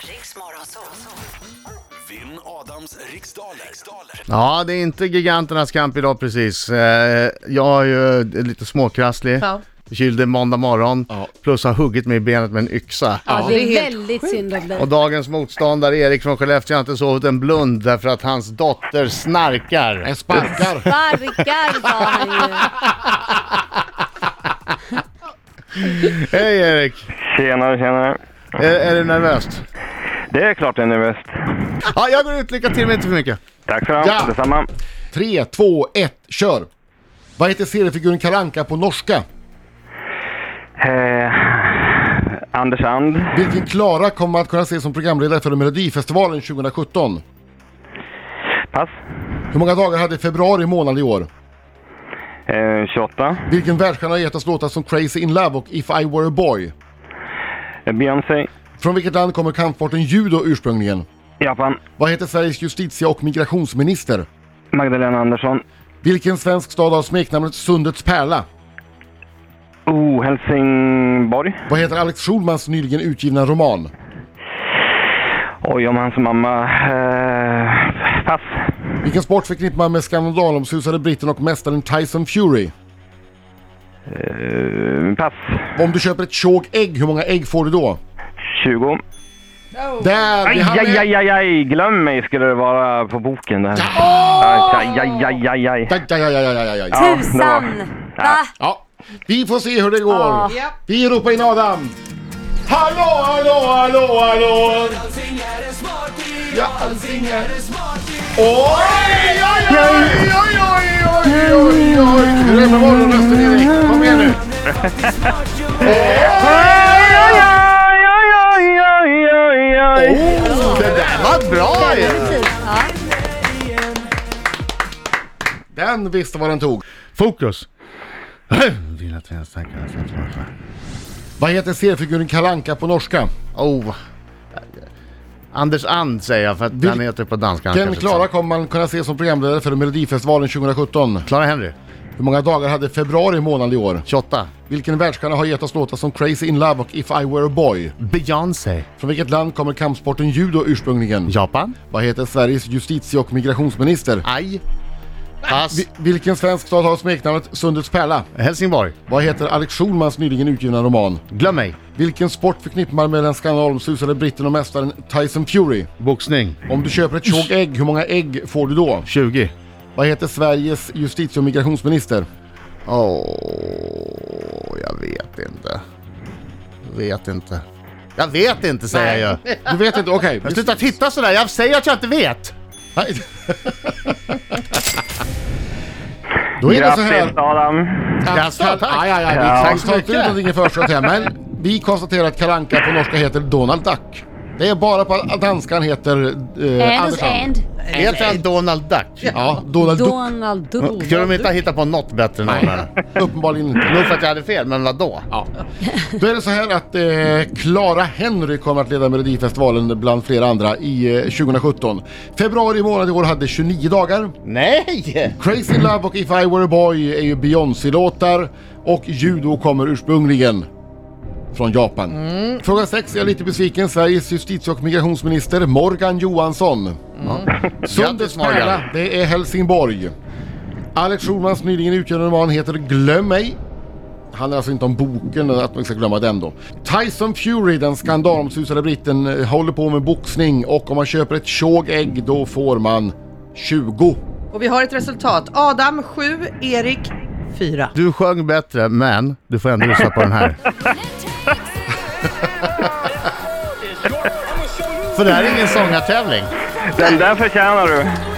Riks Morgonzoo. Vinn Adams riksdaler. riksdaler. Ja, det är inte giganternas kamp idag precis. Eh, Jag är ju eh, lite småkrasslig, Ja. förkyld en måndag morgon, Ja. plus har huggit mig i benet med en yxa. Ja, det är väldigt synd om Och dig. dagens motståndare Erik från Skellefteå har inte sovit en blund därför att hans dotter snarkar. En sparkar. Barkar sa han ju. Hej Erik! Tjenare, tjenare. Är, är du nervöst? Det är klart det är nervöst. Ja, jag går ut. Lycka till men inte för mycket. Tack för allt, Ja. detsamma. Tre, två, ett, kör! Vad heter seriefiguren Karanka på norska? Eh, Anders And, Vilken Klara kommer att kunna ses som programledare för Melodifestivalen 2017? pass. Hur många dagar hade februari månad i år? Eh, 28. Vilken världsstjärna har gett oss låtar som Crazy In Love och If I Were A Boy? Eh, Beyoncé, Från vilket land kommer kampsporten judo ursprungligen? Japan. Vad heter Sveriges justitie och migrationsminister? Magdalena Andersson. Vilken svensk stad har smeknamnet Sundets pärla? Oh, Helsingborg. Vad heter Alex Schulmans nyligen utgivna roman? Oj, om hans mamma. Eh, pass. Vilken sport förknippar man med skandalomsusade britten och mästaren Tyson Fury? Eh, pass. Om du köper ett tjog ägg, hur många ägg får du då? 20. Där! Aj, vi hann aj, med. aj, aj, aj. Glöm mig skulle det vara på boken där. Aj, aj, aj, aj, aj, aj. Aj, aj, aj, aj, aj, aj. Ja, det var- Tusan! Va? Ja, vi får se hur det Ja. går. Vi ropar in Adam. Hallå, hallå, hallå, hallå! Ja. Oj, oj, oj, oj, oj, oj, oj, oj! Hur är det med morgonrösten Erik? Kom igen nu. Aj, aj, aj, aj, aj, aj. Oh, det där var bra Erik! Precis, ja. Den visste vad den tog. Fokus! Vill att vi ens tänker att jag tror att- Vad heter seriefiguren Kalanka på norska? Oh. Anders And säger jag för att han heter på danska. han Den kanske Klara inte kommer man kunna se som programledare för Melodifestivalen 2017. sa. Klara Henry, Hur många dagar hade februari månad i år? 28. Vilken världsstjärna har gett oss låtar som Crazy In Love och If I Were A Boy? Beyoncé. Från vilket land kommer kampsporten judo ursprungligen? Japan. Vad heter Sveriges justitie och migrationsminister? Aj. Pass. Vi- vilken svensk stad har smeknamnet Sundets pärla? Helsingborg. Vad heter Alex Schulmans nyligen utgivna roman? Glöm mig. Vilken sport förknippar man med den skandalomsusade britten och mästaren Tyson Fury? Boxning. Om du köper ett tjog ägg, hur många ägg får du då? 20. Vad heter Sveriges justitie och migrationsminister? Åh, jag vet inte. Vet inte. Jag vet inte säger jag jag. Du vet inte, okej. Men Sluta titta sådär, jag säger att jag inte vet. Nej. Då är det så här. Grattis Adam! Jaså, tack. Aj, aj, aj. Vi Ja. tar- tar inte ut någonting i förskott här, men vi konstaterar att Karanka på norska heter Donald Duck. Det är bara på att danskan heter eh, And, Andersson. and Heter han Donald Duck? Ja, Donald Duck. Donald Kunde de Duck. inte ha hittat på något bättre namn? här? Uppenbarligen inte. Nog för att jag hade fel, men vadå? Då är det så här att eh, Clara Henry kommer att leda Melodifestivalen bland flera andra i eh, 2017. Februari månad i år hade 29 dagar. Nej! Crazy in Love och If I Were A Boy är ju Beyoncé-låtar och judo kommer ursprungligen från Japan. Mm. Fråga 6 är jag lite besviken. Sveriges justitie och migrationsminister Morgan Johansson. Sundets Grattis, Morgan. pärla, det är Helsingborg. Alex Schulmans nyligen utgivna roman heter Glöm mig. Han är alltså inte om boken, att man ska glömma den då. Tyson Fury, den skandalomsusade britten, eh, håller på med boxning och om man köper ett tjog ägg då får man 20. Och vi har ett resultat. Adam 7, Erik 4. Du sjöng bättre, men du får ändå lyssna på den här. För det här är ingen sångartävling. Den där förtjänar du!